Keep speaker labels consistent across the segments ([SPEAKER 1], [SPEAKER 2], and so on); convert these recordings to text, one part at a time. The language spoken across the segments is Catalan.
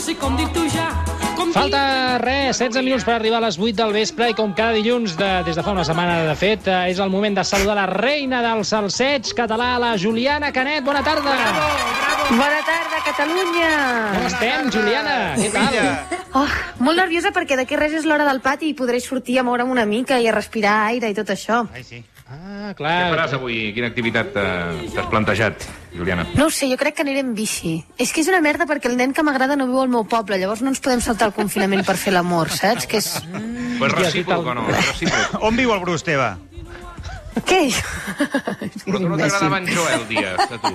[SPEAKER 1] sé com dir-t'ho ja. Com
[SPEAKER 2] Falta res, 16 minuts per arribar a les 8 del vespre i com cada dilluns, de, des de fa una setmana, de fet, eh, és el moment de saludar la reina del salseig català, la Juliana Canet. Bona tarda!
[SPEAKER 3] Bona tarda, Catalunya!
[SPEAKER 2] Com estem, Juliana? Què tal?
[SPEAKER 3] Oh, molt nerviosa perquè d'aquí res és l'hora del pati i podré sortir a moure'm una mica i a respirar aire i tot això.
[SPEAKER 2] Ah,
[SPEAKER 4] Què
[SPEAKER 2] clar.
[SPEAKER 4] faràs avui? Quina activitat eh, t'has plantejat, Juliana?
[SPEAKER 3] No ho sé, jo crec que aniré amb bici. És que és una merda perquè el nen que m'agrada no viu al meu poble, llavors no ens podem saltar el confinament per fer l'amor, saps? Que és...
[SPEAKER 4] Pues
[SPEAKER 2] Hòstia,
[SPEAKER 4] recíproc
[SPEAKER 2] sí,
[SPEAKER 4] o no? Recíproc.
[SPEAKER 5] On viu el Bruce Teva?
[SPEAKER 3] Què?
[SPEAKER 4] Però tu no t'agradava en Joel Díaz, a tu.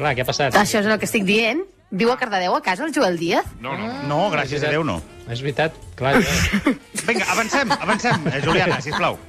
[SPEAKER 2] Clar, què ha passat?
[SPEAKER 3] Això és el que estic dient. Viu a Cardedeu, a casa, el Joel Díaz?
[SPEAKER 4] No, no.
[SPEAKER 5] No, gràcies a Déu, no.
[SPEAKER 2] És veritat, clar. Jo...
[SPEAKER 5] Vinga, avancem, avancem, eh, Juliana, sisplau.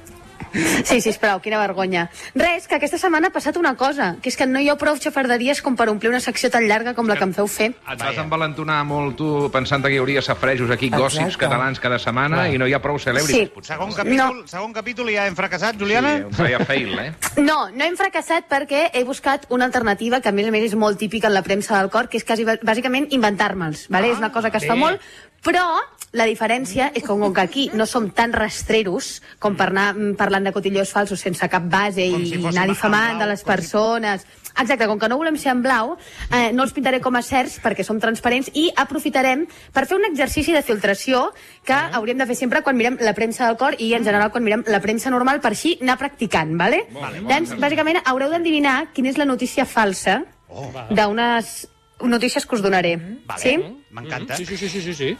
[SPEAKER 3] Sí, sí, sisplau, quina vergonya. Res, que aquesta setmana ha passat una cosa, que és que no hi ha prou xafarderies com per omplir una secció tan llarga com la que em feu fer.
[SPEAKER 4] Et vas envalentonar molt, tu, pensant que hi hauria safrejos aquí, gossips catalans cada setmana, i no hi ha prou celebrities,
[SPEAKER 3] Sí.
[SPEAKER 4] potser.
[SPEAKER 5] Segon capítol, segon capítol i ja hem fracassat, Juliana?
[SPEAKER 4] Sí, un feia fail, eh?
[SPEAKER 3] No, no hem fracassat perquè he buscat una alternativa que a més a més és molt típica en la premsa del cor, que és quasi, bàsicament inventar-me'ls. Vale? Ah, és una cosa que es fa
[SPEAKER 2] bé.
[SPEAKER 3] molt, però la diferència és que com que aquí no som tan rastreros com per anar mm, parlant de cotillos falsos sense cap base
[SPEAKER 5] Com
[SPEAKER 3] i
[SPEAKER 5] si
[SPEAKER 3] si
[SPEAKER 5] fóssim
[SPEAKER 3] anar
[SPEAKER 5] en
[SPEAKER 3] difamant
[SPEAKER 5] blau,
[SPEAKER 3] de les
[SPEAKER 5] com si-
[SPEAKER 3] persones... Exacte, com que no volem ser en blau, eh, no els pintaré com a certs perquè som transparents i aprofitarem per fer un exercici de filtració que hauríem de fer sempre quan mirem la premsa del cor i en general quan mirem la premsa normal per així anar practicant, vale? vale Llavors, bàsicament, haureu d'endevinar quina és la notícia falsa oh. d'unes notícies que us donaré. Vale. Sí?
[SPEAKER 5] M'encanta.
[SPEAKER 2] Sí, sí, sí, sí, sí, sí.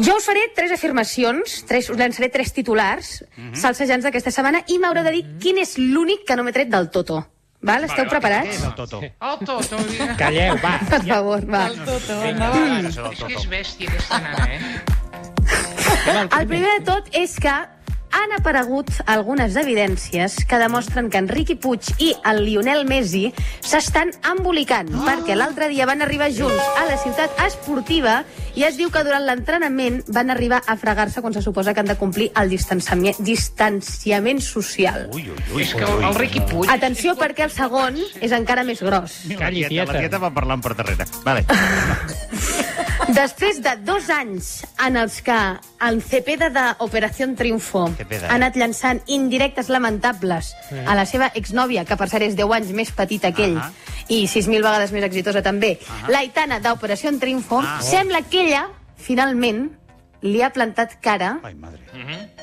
[SPEAKER 3] Jo us faré tres afirmacions, tres, us llançaré tres titulars mm -hmm. salsejants d'aquesta setmana i m'haureu de dir quin és l'únic que no m'he tret del Toto. Val? Esteu
[SPEAKER 5] Què
[SPEAKER 3] preparats?
[SPEAKER 5] és el Toto?
[SPEAKER 6] El Toto, digue.
[SPEAKER 2] Calleu, va.
[SPEAKER 3] Per favor, va.
[SPEAKER 6] El Toto,
[SPEAKER 5] Què
[SPEAKER 6] endavant.
[SPEAKER 5] Ah, és això del
[SPEAKER 6] És que
[SPEAKER 5] Toto?
[SPEAKER 6] és bèstia, aquesta nana, eh?
[SPEAKER 3] El primer de tot és que han aparegut algunes evidències que demostren que en Riqui Puig i el Lionel Messi s'estan embolicant, oh. perquè l'altre dia van arribar junts a la ciutat esportiva i es diu que durant l'entrenament van arribar a fregar-se quan se suposa que han de complir el distanciami- distanciament social.
[SPEAKER 5] Ui, ui, ui.
[SPEAKER 6] És que el, el Riqui Puig...
[SPEAKER 3] Atenció, perquè el segon és encara més gros.
[SPEAKER 2] Calli,
[SPEAKER 5] la tieta,
[SPEAKER 2] tieta.
[SPEAKER 5] la tieta va parlant per darrere. Vale.
[SPEAKER 3] Després de dos anys en els que el Cepeda de Operació Triunfo
[SPEAKER 5] Cepeda, eh?
[SPEAKER 3] ha anat llançant indirectes lamentables a la seva exnòvia, que per cert és 10 anys més petita que ell,
[SPEAKER 5] Ahà.
[SPEAKER 3] i 6.000 vegades més exitosa també, l'Aitana d'Operació Triunfo,
[SPEAKER 5] Ah.
[SPEAKER 3] sembla que ella, finalment, li ha plantat cara,
[SPEAKER 5] Ai, madre.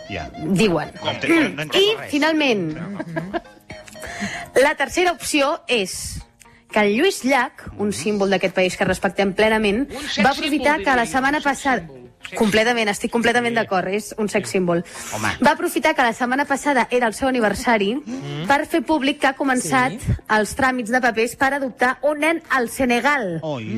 [SPEAKER 5] Ja.
[SPEAKER 3] diuen.
[SPEAKER 5] Com, no, no
[SPEAKER 3] Mm. I,
[SPEAKER 5] entenc res.
[SPEAKER 3] finalment, la tercera opció és que el Lluís Llach, un símbol d'aquest país que respectem plenament,
[SPEAKER 6] Un sex
[SPEAKER 3] va aprofitar
[SPEAKER 6] symbol,
[SPEAKER 3] que la
[SPEAKER 6] diria,
[SPEAKER 3] setmana
[SPEAKER 6] un sex
[SPEAKER 3] passada...
[SPEAKER 6] symbol. Sex-
[SPEAKER 3] Completament, estic completament d'acord, és un sex símbol.
[SPEAKER 5] Home.
[SPEAKER 3] Va aprofitar que la setmana passada era el seu aniversari
[SPEAKER 6] Mm.
[SPEAKER 3] per fer públic que ha començat els tràmits de papers per adoptar un nen al Senegal.
[SPEAKER 5] Oi.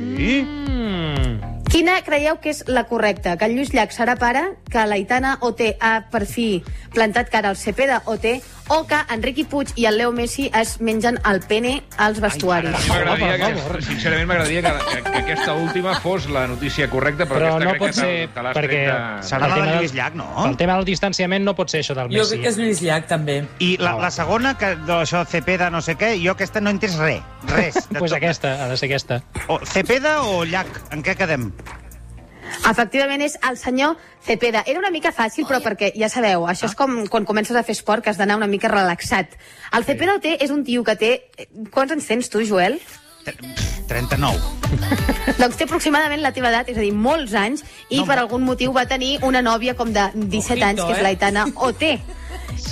[SPEAKER 3] Quina creieu que és la correcta? Que el Lluís Llach serà pare, que l'Aitana OT ha per fi plantat cara al Cepeda OT o que Enriqui Puig i el Leo Messi es mengen el pene als
[SPEAKER 4] A
[SPEAKER 3] vestuaris.
[SPEAKER 4] mi m'agradaria que, sincerament m'agradaria que, que, que aquesta última fos la notícia correcta,
[SPEAKER 2] Però
[SPEAKER 4] però, aquesta
[SPEAKER 2] no
[SPEAKER 4] crec
[SPEAKER 2] pot
[SPEAKER 4] que
[SPEAKER 2] ser,
[SPEAKER 4] te, te l'has
[SPEAKER 2] perquè...
[SPEAKER 4] tret de...
[SPEAKER 5] Serà la
[SPEAKER 2] el
[SPEAKER 5] de
[SPEAKER 2] tema
[SPEAKER 5] Lluís Llach, no?
[SPEAKER 2] El tema del distanciament no pot ser això del
[SPEAKER 7] Jo
[SPEAKER 2] Messi.
[SPEAKER 7] crec que és Lluís Llach, també.
[SPEAKER 5] I la, la segona, que d'això Cepeda no sé què, jo aquesta no he entès res. Res. de
[SPEAKER 2] Pues
[SPEAKER 5] tot.
[SPEAKER 2] aquesta, ha de ser aquesta.
[SPEAKER 5] O Cepeda o Llach? En què quedem?
[SPEAKER 3] Efectivament, és el senyor Cepeda. Era una mica fàcil, però perquè, ja sabeu, això és com quan comences a fer esport, que has d'anar una mica relaxat. El Cepeda OT és un tio que té... eh, Quants anys tens tu, Joel?
[SPEAKER 5] Tre- 39.
[SPEAKER 3] Doncs té aproximadament la teva edat, és a dir, molts anys, i no, per algun motiu va tenir una nòvia com de 17
[SPEAKER 7] Ojito,
[SPEAKER 3] anys, que és
[SPEAKER 7] eh?
[SPEAKER 3] l'Aitana OT.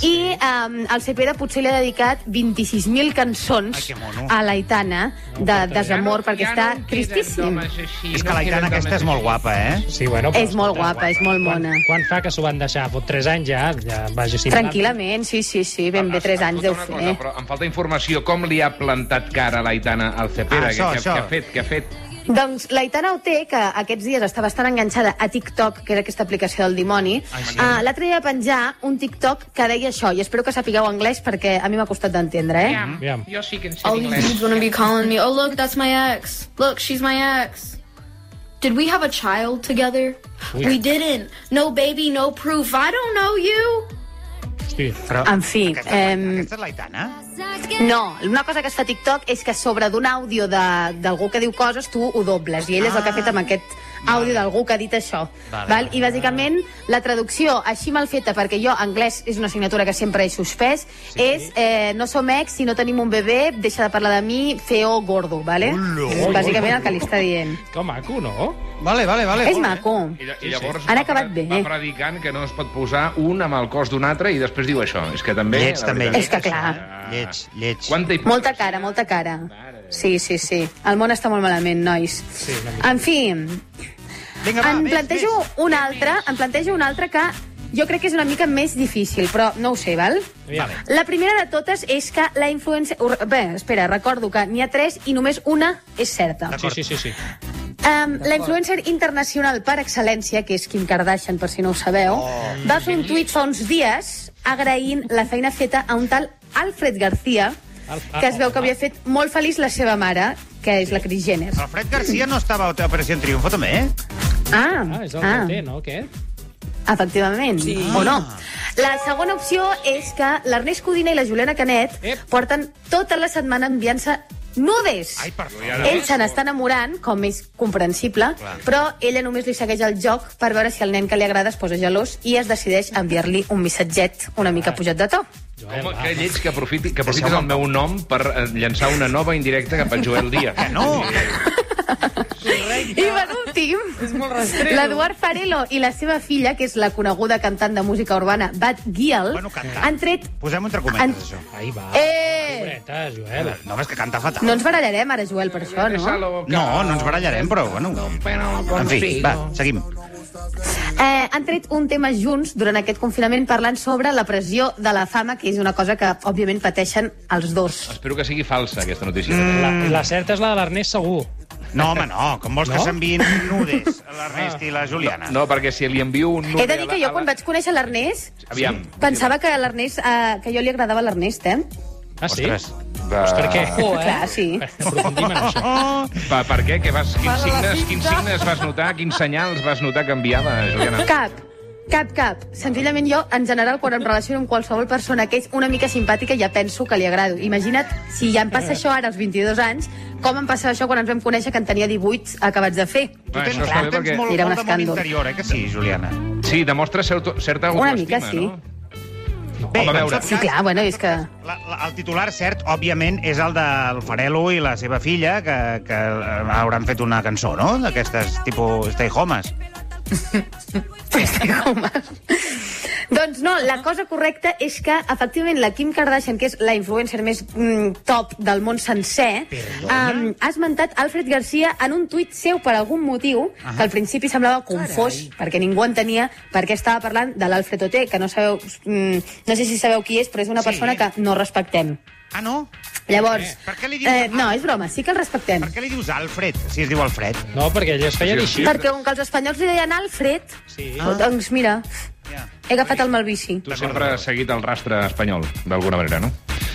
[SPEAKER 3] I um, el Cepeda potser li ha dedicat 26.000
[SPEAKER 5] Ai,
[SPEAKER 3] cançons
[SPEAKER 5] que mono.
[SPEAKER 3] a l'Aitana de desamor, perquè
[SPEAKER 6] ja
[SPEAKER 3] està
[SPEAKER 6] no en queden
[SPEAKER 3] tristíssim.
[SPEAKER 6] d'homes Així,
[SPEAKER 5] És
[SPEAKER 6] no
[SPEAKER 5] que la
[SPEAKER 6] queden
[SPEAKER 5] Itana aquesta
[SPEAKER 6] d'homes
[SPEAKER 5] és molt
[SPEAKER 6] així.
[SPEAKER 5] guapa, eh?
[SPEAKER 2] Sí, bueno, però
[SPEAKER 3] És molt
[SPEAKER 2] escolta,
[SPEAKER 3] guapa, és molt mona.
[SPEAKER 2] Quan, quan fa que s'ho van deixar? Fot 3 anys ja, ja vaja, sí,
[SPEAKER 3] Tranquil·lament, sí, sí, sí, ben bé 3 anys
[SPEAKER 4] Escolta
[SPEAKER 3] deu eh?
[SPEAKER 4] una
[SPEAKER 3] fer.
[SPEAKER 4] cosa, Però em falta informació. Com li ha plantat cara l'Aitana al Cepeda?
[SPEAKER 5] Ah, això,
[SPEAKER 4] què,
[SPEAKER 5] això. Mm?
[SPEAKER 4] Què ha fet? Què ha fet?
[SPEAKER 3] Doncs l'Aitana Oté, que aquests dies està bastant enganxada a TikTok, que era aquesta aplicació del dimoni, ah, l'altre dia va penjar un TikTok que deia això, i espero que sapigueu anglès perquè a mi m'ha costat d'entendre, eh?
[SPEAKER 6] Aviam,
[SPEAKER 2] Aviam.
[SPEAKER 6] Jo sí que en sé
[SPEAKER 8] All these
[SPEAKER 6] anglès.
[SPEAKER 8] dudes want to be calling me, oh, look, that's my ex. Look, she's my ex. Did we have a child together? We didn't. No baby, no proof. I don't know you.
[SPEAKER 2] Hosti,
[SPEAKER 5] Però...
[SPEAKER 3] En fi,
[SPEAKER 5] Aquesta,
[SPEAKER 3] ehm,
[SPEAKER 5] aquesta és la Itana?
[SPEAKER 3] No, una cosa que es fa a Ah. TikTok és que sobre d'un àudio de- d'algú que diu coses tu ho dobles i ell és el que ha fet amb aquest àudio d'algú que ha dit això.
[SPEAKER 2] Vale.
[SPEAKER 3] val? I bàsicament la traducció així mal feta, perquè jo anglès és una assignatura que sempre he suspès, sí. és eh, no som ex, si no tenim un bebè, deixa de parlar de mi, feo gordo, vale? Ullo,
[SPEAKER 2] ui,
[SPEAKER 3] bàsicament
[SPEAKER 2] ui.
[SPEAKER 3] el que li està dient.
[SPEAKER 2] Que maco, no?
[SPEAKER 5] Vale, vale, vale.
[SPEAKER 3] És
[SPEAKER 5] molt bé.
[SPEAKER 3] maco.
[SPEAKER 4] I, lla- i llavors
[SPEAKER 3] Han
[SPEAKER 4] va
[SPEAKER 3] acabat
[SPEAKER 4] pre-
[SPEAKER 3] bé. eh?
[SPEAKER 4] va predicant que no es pot posar un amb el cos d'un altre i després diu això. És que també...
[SPEAKER 5] Lleig,
[SPEAKER 4] la
[SPEAKER 5] també,
[SPEAKER 4] veritat,
[SPEAKER 3] És que clar.
[SPEAKER 5] Lleig, lleig.
[SPEAKER 4] Quanta hipòtesi.
[SPEAKER 3] Molta cara, molta cara. Sí, sí, sí. El món està molt malament, nois. Sí, en fi,
[SPEAKER 5] Vinga, va,
[SPEAKER 3] en
[SPEAKER 5] més,
[SPEAKER 3] plantejo
[SPEAKER 5] més.
[SPEAKER 3] un altre, en plantejo un altre que jo crec que és una mica més difícil, però no ho sé, val?
[SPEAKER 2] Vale.
[SPEAKER 3] La primera de totes és que la influència... ho- Bé, espera, recordo que n'hi ha tres i només una és certa.
[SPEAKER 2] Sí, sí, sí, sí.
[SPEAKER 3] Um, la influencer internacional per excel·lència, que és Kim Kardashian, per si no ho sabeu, va fer un tuit fa uns dies agraint la feina feta a un tal Alfred García,
[SPEAKER 2] Al-
[SPEAKER 3] que es veu que
[SPEAKER 2] ah,
[SPEAKER 3] havia fet molt feliç la seva mare, que és la Kris Jenner.
[SPEAKER 5] Alfred García no estava a Operació Triunfo, també, eh?
[SPEAKER 3] Ah,
[SPEAKER 2] Ah, és el ah.
[SPEAKER 3] ah,
[SPEAKER 2] té, no, aquest?
[SPEAKER 3] efectivament. Sí. O no.
[SPEAKER 5] Ah.
[SPEAKER 3] La segona opció és que l'Ernest Codina i la Juliana Canet
[SPEAKER 2] Ep.
[SPEAKER 3] porten tota la setmana enviant-se nudes.
[SPEAKER 5] Ai, per favor.
[SPEAKER 3] Ell se n'està enamorant, com és comprensible, Clar. però ella només li segueix el joc per veure si el nen que li agrada es posa gelós i es decideix a enviar-li un missatget una mica pujat de to.
[SPEAKER 2] Joel,
[SPEAKER 4] Home,
[SPEAKER 2] va.
[SPEAKER 4] que lleig que, aprofiti, que aprofitis el meu nom per eh, llançar una nova indirecta cap al Joel Díaz.
[SPEAKER 5] Que Eh, no.
[SPEAKER 3] I per últim, l'Eduard Farelo i la seva filla, que és la coneguda cantant de música urbana Bad Giel,
[SPEAKER 5] Bueno, cantant. Ah,
[SPEAKER 3] han tret...
[SPEAKER 5] Posem entre cometes,
[SPEAKER 3] En-
[SPEAKER 5] això.
[SPEAKER 2] Ahí va.
[SPEAKER 3] Eh!
[SPEAKER 2] Pobretes, Joel.
[SPEAKER 5] No, és que canta fatal.
[SPEAKER 3] No ens barallarem ara, Joel, per això, no?
[SPEAKER 5] No, no ens barallarem, però, bueno... En fi, va, seguim.
[SPEAKER 3] Eh, han tret un tema junts durant aquest confinament parlant sobre la pressió de la fama, que és una cosa que, òbviament, pateixen els dos.
[SPEAKER 4] Espero que sigui falsa, aquesta notícia.
[SPEAKER 5] Mm.
[SPEAKER 2] La, la certa és la de l'Ernest, segur.
[SPEAKER 5] No, home, no. Com vols
[SPEAKER 2] No?
[SPEAKER 5] que s'envien nudes a l'Ernest i la Juliana?
[SPEAKER 4] No, perquè si li envio un...
[SPEAKER 3] He de dir que jo, quan vaig conèixer l'Ernest,
[SPEAKER 4] Aviam.
[SPEAKER 3] pensava que l'Ernest, eh, que jo li agradava l'Ernest, eh?
[SPEAKER 2] Ah, sí?
[SPEAKER 5] Ostres.
[SPEAKER 4] Va...
[SPEAKER 2] Per què?
[SPEAKER 3] Oh, eh? Clar, sí.
[SPEAKER 2] Aprofundim en això.
[SPEAKER 5] Oh,
[SPEAKER 4] Va, per què? Que vas, quins, signes, quins signes vas notar? Quins senyals vas notar que enviava, Juliana?
[SPEAKER 3] Cap. Cap, cap. Senzillament jo, en general, quan em relaciono amb qualsevol persona que és una mica simpàtica, ja penso que li agrado. Imagina't si ja em passa això ara als 22 anys, com em passava això quan ens vam conèixer que en tenia 18 acabats de fer.
[SPEAKER 5] tu
[SPEAKER 4] Va,
[SPEAKER 5] tens,
[SPEAKER 4] això està
[SPEAKER 5] clar,
[SPEAKER 4] bé
[SPEAKER 5] tens
[SPEAKER 4] perquè-
[SPEAKER 5] molt,
[SPEAKER 3] Era un
[SPEAKER 5] molt de món
[SPEAKER 3] escàndol.
[SPEAKER 5] interior, eh, que sí, Juliana?
[SPEAKER 4] Sí, demostra certa, certa
[SPEAKER 3] Una
[SPEAKER 4] autoestima,
[SPEAKER 3] mica, sí.
[SPEAKER 4] no? Home, a
[SPEAKER 5] Bé, doncs en
[SPEAKER 4] veure.
[SPEAKER 5] tot
[SPEAKER 3] doncs, Sí, clar, bueno, és que...
[SPEAKER 5] La, la, el titular cert, òbviament, és el del Farelo i la seva filla, que, que eh, hauran fet una cançó, no?, d'aquestes tipus Stay Homes.
[SPEAKER 3] Home. doncs no, la cosa correcta és que, efectivament, la Kim Kardashian, que és la influencer més mm, top del món sencer, um, ha esmentat Alfred Garcia en un tuit seu per algun motiu, que al principi semblava confós, perquè ningú entenia per què estava parlant de l'Alfred Oté, que no sabeu... Mm, no sé si sabeu qui és, però és una persona que no respectem.
[SPEAKER 5] Ah, no?
[SPEAKER 3] Llavors,
[SPEAKER 5] Per què li dius-
[SPEAKER 3] eh, no, és broma, sí que el respectem.
[SPEAKER 5] Per què li dius Alfred, si es diu Alfred?
[SPEAKER 2] No, perquè ell es feia
[SPEAKER 4] Sí,
[SPEAKER 2] així.
[SPEAKER 3] Perquè com que els espanyols li deien Alfred,
[SPEAKER 2] Sí.
[SPEAKER 3] ah. doncs mira,
[SPEAKER 5] Ja.
[SPEAKER 3] he agafat el mal vici.
[SPEAKER 4] Tu sempre has seguit el rastre espanyol, d'alguna manera, no?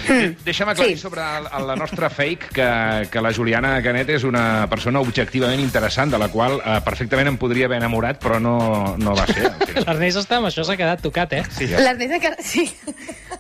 [SPEAKER 4] Mm. Deixa'm aclarir
[SPEAKER 3] Sí.
[SPEAKER 4] sí. sobre el- el- la nostra fake que, que la Juliana Canet és una persona objectivament interessant, de la qual eh, perfectament em podria haver enamorat, però no, no va ser. al final.
[SPEAKER 2] L'Ernest està amb això, s'ha quedat tocat, eh? Sí.
[SPEAKER 3] L'Ernest encara, sí,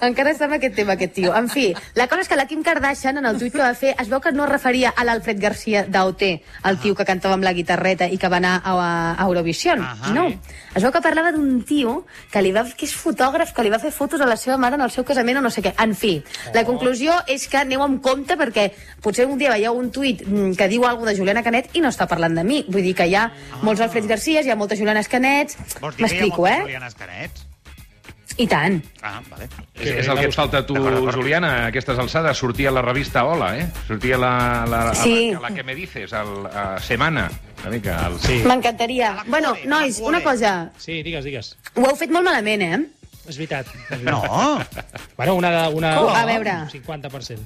[SPEAKER 3] encara està amb aquest tema, aquest tio. En fi, la cosa és que la Kim Kardashian, en el tuit que va fer, es veu que no es referia a l'Alfred Garcia d'OT, el tio que cantava amb la guitarreta i que va anar a, a Eurovision.
[SPEAKER 5] Ahà.
[SPEAKER 3] No, es veu que parlava d'un tio que, li va, que és fotògraf, que li va fer fotos a la seva mare en el seu casament o no sé què. En fi, la
[SPEAKER 5] Oh.
[SPEAKER 3] conclusió és que aneu amb compte perquè potser un dia veieu un tuit mm, que diu alguna de Juliana Canet i no està parlant de mi. Vull dir que hi ha molts Alfreds Garcies, hi ha moltes Julianes Canets...
[SPEAKER 5] Ah. Vols dir que hi ha
[SPEAKER 3] M'explico,
[SPEAKER 5] moltes
[SPEAKER 3] eh?
[SPEAKER 5] Julianes Canets?
[SPEAKER 3] I tant.
[SPEAKER 5] Ah, vale.
[SPEAKER 4] És, és el que et falta a tu, Juliana, a aquestes alçades. Sortia a la revista Hola, eh? Sortia la, la, la,
[SPEAKER 3] Sí.
[SPEAKER 4] la, la que me dices, el, a Semana. Una mica, el...
[SPEAKER 2] Sí,
[SPEAKER 3] M'encantaria. Bueno,
[SPEAKER 5] Cole,
[SPEAKER 3] nois,
[SPEAKER 5] a la
[SPEAKER 3] una
[SPEAKER 5] Cole.
[SPEAKER 3] cosa.
[SPEAKER 2] sí digues, digues.
[SPEAKER 3] Ho heu fet molt malament, eh?
[SPEAKER 2] És veritat. És veritat.
[SPEAKER 5] No,
[SPEAKER 2] Bueno, una, de- una,
[SPEAKER 3] Oh, a veure.
[SPEAKER 2] Un 50%.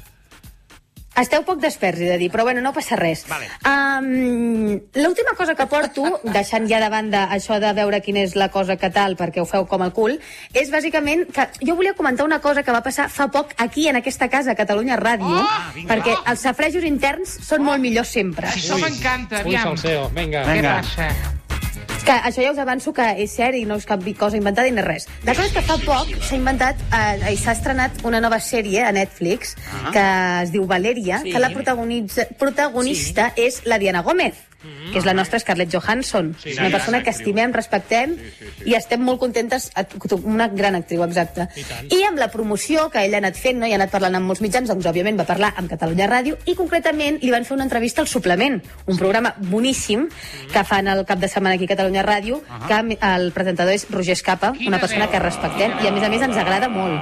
[SPEAKER 3] Esteu poc desperts, he de dir, però bueno, no passa res.
[SPEAKER 5] Vale.
[SPEAKER 3] Um, L'última cosa que porto, deixant ja de banda això de veure quina és la cosa que tal, perquè ho feu com el cul, és bàsicament que jo volia comentar una cosa que va passar fa poc aquí, en aquesta casa, a Catalunya Ràdio, perquè els safrejos interns són molt millors sempre.
[SPEAKER 6] Això m'encanta,
[SPEAKER 2] Ui,
[SPEAKER 6] aviam.
[SPEAKER 2] salseo, vinga.
[SPEAKER 6] Què
[SPEAKER 5] Vinga.
[SPEAKER 6] passa?
[SPEAKER 3] Que això ja us avanço que és cert i no és cap cosa inventada i no és res. La cosa és que fa poc s'ha inventat eh, i s'ha estrenat una nova sèrie a Netflix que es diu Valeria, que la protagonitza, protagonista és la Diana Gómez que és la nostra Scarlett Johansson.
[SPEAKER 2] Sí,
[SPEAKER 3] és
[SPEAKER 2] gran
[SPEAKER 3] una persona que
[SPEAKER 4] actriu.
[SPEAKER 3] estimem, respectem i estem molt contentes, a- una gran actriu, exacte.
[SPEAKER 2] I tant.
[SPEAKER 3] I amb la promoció que ella ha anat fent, no? i ha anat parlant amb molts mitjans, doncs, òbviament, va parlar amb Catalunya Ràdio i, concretament, li van fer una entrevista al Suplement, un programa boníssim que fan el cap de setmana aquí a Catalunya Ràdio, que a mi- el presentador és Roger Escapa,
[SPEAKER 6] Quina
[SPEAKER 3] una persona
[SPEAKER 6] veu.
[SPEAKER 3] que respectem i, a més a més, ens agrada molt.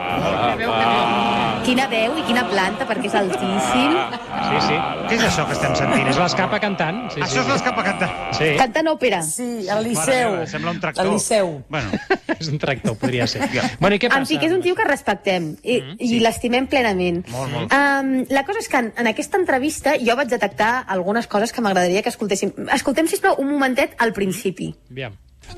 [SPEAKER 3] Quina veu i quina planta, perquè és altíssim.
[SPEAKER 2] Sí, sí.
[SPEAKER 5] Què és això que estem sentint?
[SPEAKER 2] És l'escapa cantant. Sí,
[SPEAKER 5] Això és
[SPEAKER 2] sí.
[SPEAKER 5] l'escapa cantant.
[SPEAKER 2] Sí,
[SPEAKER 3] Cantant òpera.
[SPEAKER 7] Sí, el
[SPEAKER 5] Mare
[SPEAKER 7] Liceu.
[SPEAKER 5] meva, sembla un tractor.
[SPEAKER 7] El Liceu.
[SPEAKER 5] Bueno,
[SPEAKER 2] és un tractor, podria ser. Bueno, i què passa?
[SPEAKER 3] En fi, que és un tio que respectem i, mm, sí. i l'estimem plenament.
[SPEAKER 5] Molt, molt.
[SPEAKER 3] Um, la cosa és que en, en aquesta entrevista jo vaig detectar algunes coses que m'agradaria que escoltéssim. Escoltem, sisplau, un momentet al principi.
[SPEAKER 2] Aviam.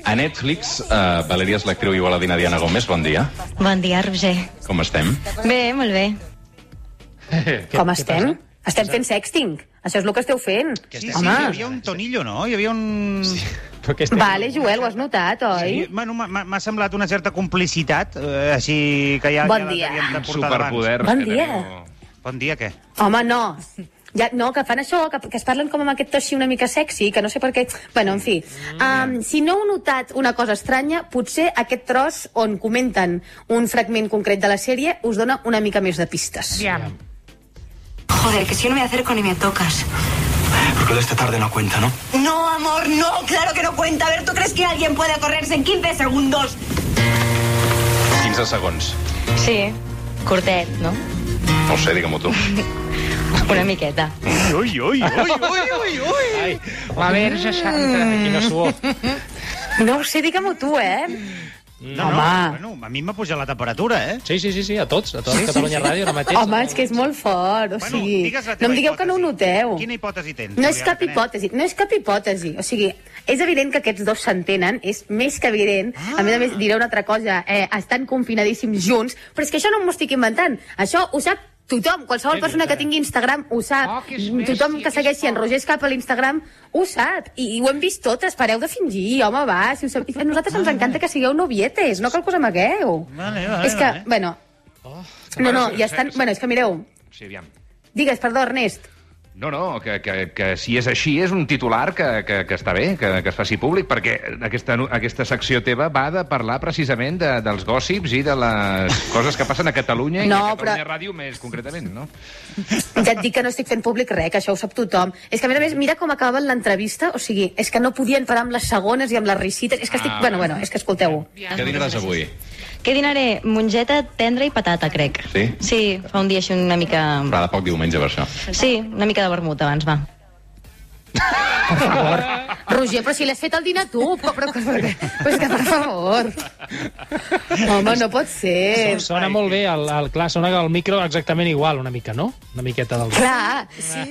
[SPEAKER 9] A Netflix,
[SPEAKER 4] eh,
[SPEAKER 9] uh, Valeria és l'actriu igualadina Diana Gómez. Bon dia.
[SPEAKER 10] Bon dia, Roger.
[SPEAKER 9] Com estem?
[SPEAKER 10] Bé, molt bé.
[SPEAKER 3] Què, Com estem? estem fent sexting. Això és el que esteu fent.
[SPEAKER 5] sí, sí, hi
[SPEAKER 3] Home,
[SPEAKER 5] havia un tonillo, no? Hi havia un... Sí.
[SPEAKER 2] Però què estem...
[SPEAKER 3] vale, Joel, ho has notat, oi?
[SPEAKER 5] Bueno, m'ha- m'ha m'ha semblat una certa complicitat, eh, així que ja,
[SPEAKER 3] Bon
[SPEAKER 5] ja la
[SPEAKER 3] dia.
[SPEAKER 5] devíem de
[SPEAKER 4] Un
[SPEAKER 5] portar davant.
[SPEAKER 4] superpoder.
[SPEAKER 3] Bon
[SPEAKER 4] que
[SPEAKER 3] dia.
[SPEAKER 4] teniu.
[SPEAKER 5] Bon dia, què?
[SPEAKER 3] Home, no. Ja, no, que fan això, que, que es parlen com amb aquest to així una mica sexy, que no sé per què... Bueno, en fi.
[SPEAKER 5] Mm,
[SPEAKER 3] Um, si no heu notat una cosa estranya, potser aquest tros on comenten un fragment concret de la sèrie us dona una mica més de pistes.
[SPEAKER 6] Diam.
[SPEAKER 10] Joder, que si no me acerco ni me tocas.
[SPEAKER 9] Lo de esta tarde no cuenta, ¿no?
[SPEAKER 7] No, amor, no, claro que no cuenta. A ver, ¿tú crees que alguien puede correrse en 15 segundos?
[SPEAKER 9] 15 segons.
[SPEAKER 10] Sí, curtet, no?
[SPEAKER 9] No ho sé, digue-m'ho tu.
[SPEAKER 10] Una miqueta.
[SPEAKER 5] Ui, ui, ui, ui, ui, ui!
[SPEAKER 2] Ai,
[SPEAKER 6] La verge santa.
[SPEAKER 2] quina suor.
[SPEAKER 3] No ho sé, digue-m'ho tu, eh?
[SPEAKER 5] No, no,
[SPEAKER 3] Home.
[SPEAKER 5] bueno, a mi m'ha pujat la temperatura, eh?
[SPEAKER 2] Sí, sí, sí, sí, a tots, a tots. Catalunya Ràdio, ara mateix.
[SPEAKER 3] Home, és que és molt fort, o
[SPEAKER 5] Bueno,
[SPEAKER 3] sigui...
[SPEAKER 5] digues la teva
[SPEAKER 3] No em digueu que no ho
[SPEAKER 5] hipòtesi.
[SPEAKER 3] noteu.
[SPEAKER 5] Quina hipòtesi tens?
[SPEAKER 3] No és
[SPEAKER 5] Juliana
[SPEAKER 3] cap
[SPEAKER 5] Canet?
[SPEAKER 3] hipòtesi, no és cap hipòtesi. O sigui, és evident que aquests dos s'entenen, és més que evident. A més a més, diré una altra cosa, eh, estan confinadíssims junts, però és que això no m'ho estic inventant. Això ho sap tothom, qualsevol persona que tingui Instagram ho sap.
[SPEAKER 6] Oh, que és bèstia,
[SPEAKER 3] tothom
[SPEAKER 6] que
[SPEAKER 3] que
[SPEAKER 6] és
[SPEAKER 3] segueixi en
[SPEAKER 6] fort.
[SPEAKER 3] Roger Escapa a l'Instagram ho sap. I, I ho hem vist totes, pareu de fingir, home, va. Si ho sap... A nosaltres ens encanta que sigueu novietes, no cal que us amagueu.
[SPEAKER 5] Vale, vale,
[SPEAKER 3] és que,
[SPEAKER 5] vale.
[SPEAKER 3] bueno... No, no, ja estan... Bueno, és que mireu...
[SPEAKER 4] Sí, aviam.
[SPEAKER 3] Digues, perdó, Ernest.
[SPEAKER 4] No, no, que, que, que si és així és un titular que, que, que està bé, que, que es faci públic, perquè aquesta, nu- aquesta secció teva va de parlar precisament de, dels gossips i de les coses que passen a Catalunya i
[SPEAKER 3] No,
[SPEAKER 4] a Catalunya
[SPEAKER 3] però-
[SPEAKER 4] Ràdio més concretament, no?
[SPEAKER 3] Ja et dic que no estic fent públic res, que això ho sap tothom. És que, a més a més, mira com acabaven l'entrevista, o sigui, és que no podien parar amb les segones i amb les risites, és que estic...
[SPEAKER 4] Ah,
[SPEAKER 3] bueno, bueno, és que escolteu-ho.
[SPEAKER 9] Què dinaràs avui?
[SPEAKER 10] Què dinaré? Mongeta, tendra i patata, crec.
[SPEAKER 9] Sí?
[SPEAKER 10] Sí, fa un dia així una mica...
[SPEAKER 9] Farà de poc diumenge, per això.
[SPEAKER 10] Sí, una mica de vermut abans, va.
[SPEAKER 3] Roger, però si l'has fet al dinar tu, però, però, però, però és que, per favor... Home, no pot ser.
[SPEAKER 2] Sona molt bé, el, el, clar, sona el micro exactament igual, una mica, no? Una miqueta del...
[SPEAKER 3] Clar, sí.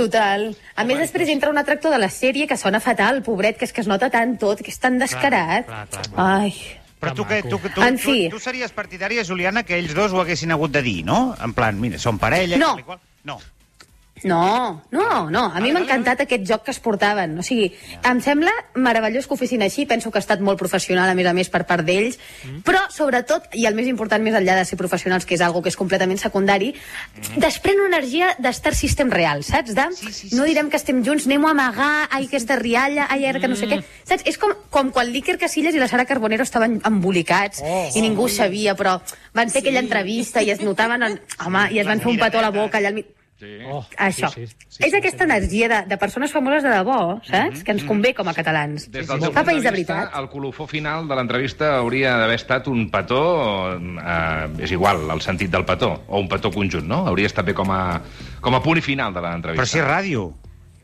[SPEAKER 3] Total. A més, després entra un altre actor de la sèrie que sona fatal, pobret, que és que es nota tant tot, que és tan descarat.
[SPEAKER 5] clar, clar,
[SPEAKER 3] Ai...
[SPEAKER 5] Però tu, que, tu, tu, tu,
[SPEAKER 3] En fi.
[SPEAKER 5] tu, series partidària, Juliana, que ells dos ho haguessin hagut de dir, no? En plan, mira, són parella...
[SPEAKER 3] No.
[SPEAKER 5] tal i qual. No.
[SPEAKER 3] No, no, Ah, no. A mi
[SPEAKER 5] Vale,
[SPEAKER 3] m'ha
[SPEAKER 5] vale,
[SPEAKER 3] encantat aquest joc que es portaven. O sigui, em sembla meravellós que ho fessin així. Penso que ha estat molt professional, a més a més, per part d'ells. Però, sobretot, i el més important, més enllà de ser professionals, que és algo que és completament secundari, desprèn una energia d'estar System real, saps? De, no direm que estem junts, anem a amagar, ai, que és de rialla, ai, ara que no sé què. Saps? És com, com quan l'Iker Casillas i la Sara Carbonero estaven embolicats i ningú ho sabia, però van fer aquella entrevista i es notaven... En... Home, i es van fer un petó a la boca allà al mig.
[SPEAKER 2] Oh,
[SPEAKER 3] Això. Sí, sí, sí, és aquesta energia de, de persones famoses de debò, saps? Mm -hmm. Que ens convé com a catalans.
[SPEAKER 4] Mhm, Des
[SPEAKER 3] Fa
[SPEAKER 4] del teu punt
[SPEAKER 3] país de
[SPEAKER 4] vista,
[SPEAKER 3] veritat.
[SPEAKER 4] El colofó final de l'entrevista hauria d'haver estat un petó, eh, és igual, el sentit del petó, o un petó conjunt, no? Hauria estat bé com a, com a punt i final de l'entrevista.
[SPEAKER 5] Però si és ràdio.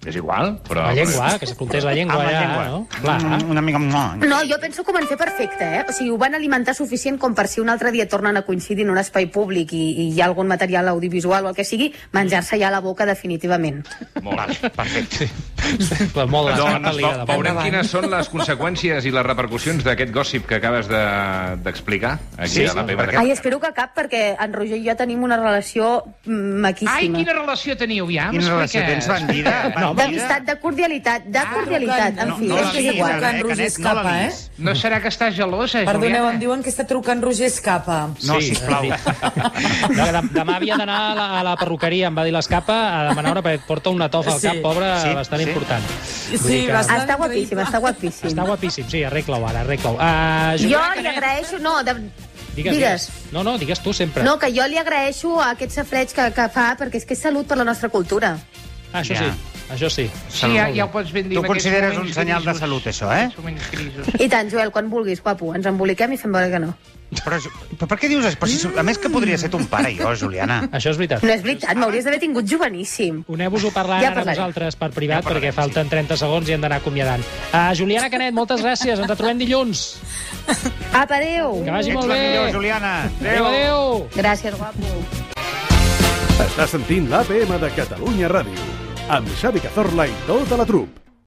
[SPEAKER 4] És igual, però...
[SPEAKER 2] La llengua, que s'apuntés la llengua
[SPEAKER 5] Amb la
[SPEAKER 2] allà,
[SPEAKER 5] llengua.
[SPEAKER 2] no? Clar.
[SPEAKER 5] Mm, Una mica... Mm.
[SPEAKER 3] No, jo penso que ho van fer perfecte, eh? O sigui, ho van alimentar suficient com per si un altre dia tornen a coincidir en un espai públic i, i hi ha algun material audiovisual o el que sigui, menjar-se ja la boca definitivament.
[SPEAKER 4] Molt bé, perfecte.
[SPEAKER 2] Clar, molt
[SPEAKER 4] Doncs,
[SPEAKER 2] d'escapa
[SPEAKER 4] ve-
[SPEAKER 2] liga. de
[SPEAKER 4] veurem quines són les conseqüències i les repercussions d'aquest gossip que acabes de- d'explicar de, aquí
[SPEAKER 5] Sí,
[SPEAKER 4] a la
[SPEAKER 5] sí,
[SPEAKER 4] peva
[SPEAKER 5] perquè-
[SPEAKER 3] Ai, espero que cap, perquè en Roger i jo tenim una relació mm,
[SPEAKER 6] Ai,
[SPEAKER 3] maquíssima.
[SPEAKER 6] quina relació teniu, ja?
[SPEAKER 5] Quina relació tens, bandida?
[SPEAKER 2] No,
[SPEAKER 5] bandida?
[SPEAKER 3] D'amistat, de cordialitat, de cordialitat. En
[SPEAKER 5] No,
[SPEAKER 3] fi,
[SPEAKER 5] no
[SPEAKER 3] és
[SPEAKER 5] la
[SPEAKER 3] que és
[SPEAKER 5] liguis,
[SPEAKER 3] igual.
[SPEAKER 5] Albert, Canet,
[SPEAKER 7] Roger
[SPEAKER 5] no la
[SPEAKER 7] escapa,
[SPEAKER 3] eh?
[SPEAKER 5] liguis.
[SPEAKER 6] No serà que estàs gelosa,
[SPEAKER 7] Perdoneu, em
[SPEAKER 6] Juliana?
[SPEAKER 7] diuen que està trucant Roger Escapa.
[SPEAKER 5] No,
[SPEAKER 2] Sí,
[SPEAKER 5] sisplau.
[SPEAKER 2] No, que dem- demà havia d'anar a, la, a la perruqueria, em va dir l'escapa, a demanar hora, perquè et porta una tofa al
[SPEAKER 7] Sí.
[SPEAKER 2] cap, pobra,
[SPEAKER 5] Sí,
[SPEAKER 2] bastant
[SPEAKER 5] sí.
[SPEAKER 2] important. Vull
[SPEAKER 3] Sí,
[SPEAKER 2] dir que-
[SPEAKER 3] bastant Està guapíssim, està guapíssim.
[SPEAKER 2] Està guapíssim, sí, arregla-ho ara, arregla-ho. Uh,
[SPEAKER 3] Jo li agraeixo... No, de...
[SPEAKER 2] Digues, digues. No, no, digues tu sempre.
[SPEAKER 3] No, que jo li agraeixo a aquest safreig que, que fa, perquè és que és salut per la nostra cultura.
[SPEAKER 2] Ah, això
[SPEAKER 5] Ja.
[SPEAKER 2] sí, això sí.
[SPEAKER 6] Sí, ja, ja ho pots ben dir. en
[SPEAKER 5] Tu
[SPEAKER 6] aquests
[SPEAKER 5] consideres un
[SPEAKER 6] moments
[SPEAKER 5] senyal de
[SPEAKER 6] grisos.
[SPEAKER 5] salut, això, eh?
[SPEAKER 6] Moments grisos.
[SPEAKER 3] I tant, Joel, quan vulguis, guapo, ens emboliquem i fem veure que no.
[SPEAKER 5] Però, però per què dius això? Però si, a més que podria ser ton pare, jo, Juliana.
[SPEAKER 2] Això és veritat.
[SPEAKER 3] No és veritat, m'hauries d'haver tingut joveníssim.
[SPEAKER 2] Uneu-vos-ho parlant ja
[SPEAKER 3] Ja
[SPEAKER 2] ara
[SPEAKER 3] parlarem.
[SPEAKER 2] vosaltres per privat, ja perquè falten 30 segons i hem d'anar acomiadant. Uh, Juliana Canet, moltes gràcies. Ens trobem dilluns.
[SPEAKER 3] Apa, adéu!
[SPEAKER 2] Que vagi
[SPEAKER 5] Ets
[SPEAKER 2] molt
[SPEAKER 5] la
[SPEAKER 2] bé.
[SPEAKER 5] millor, Juliana.
[SPEAKER 2] Adéu, adéu.
[SPEAKER 3] Gràcies, guapo.
[SPEAKER 11] Està sentint l'APM de Catalunya Ràdio, amb Xavi Cazorla i tota la trup.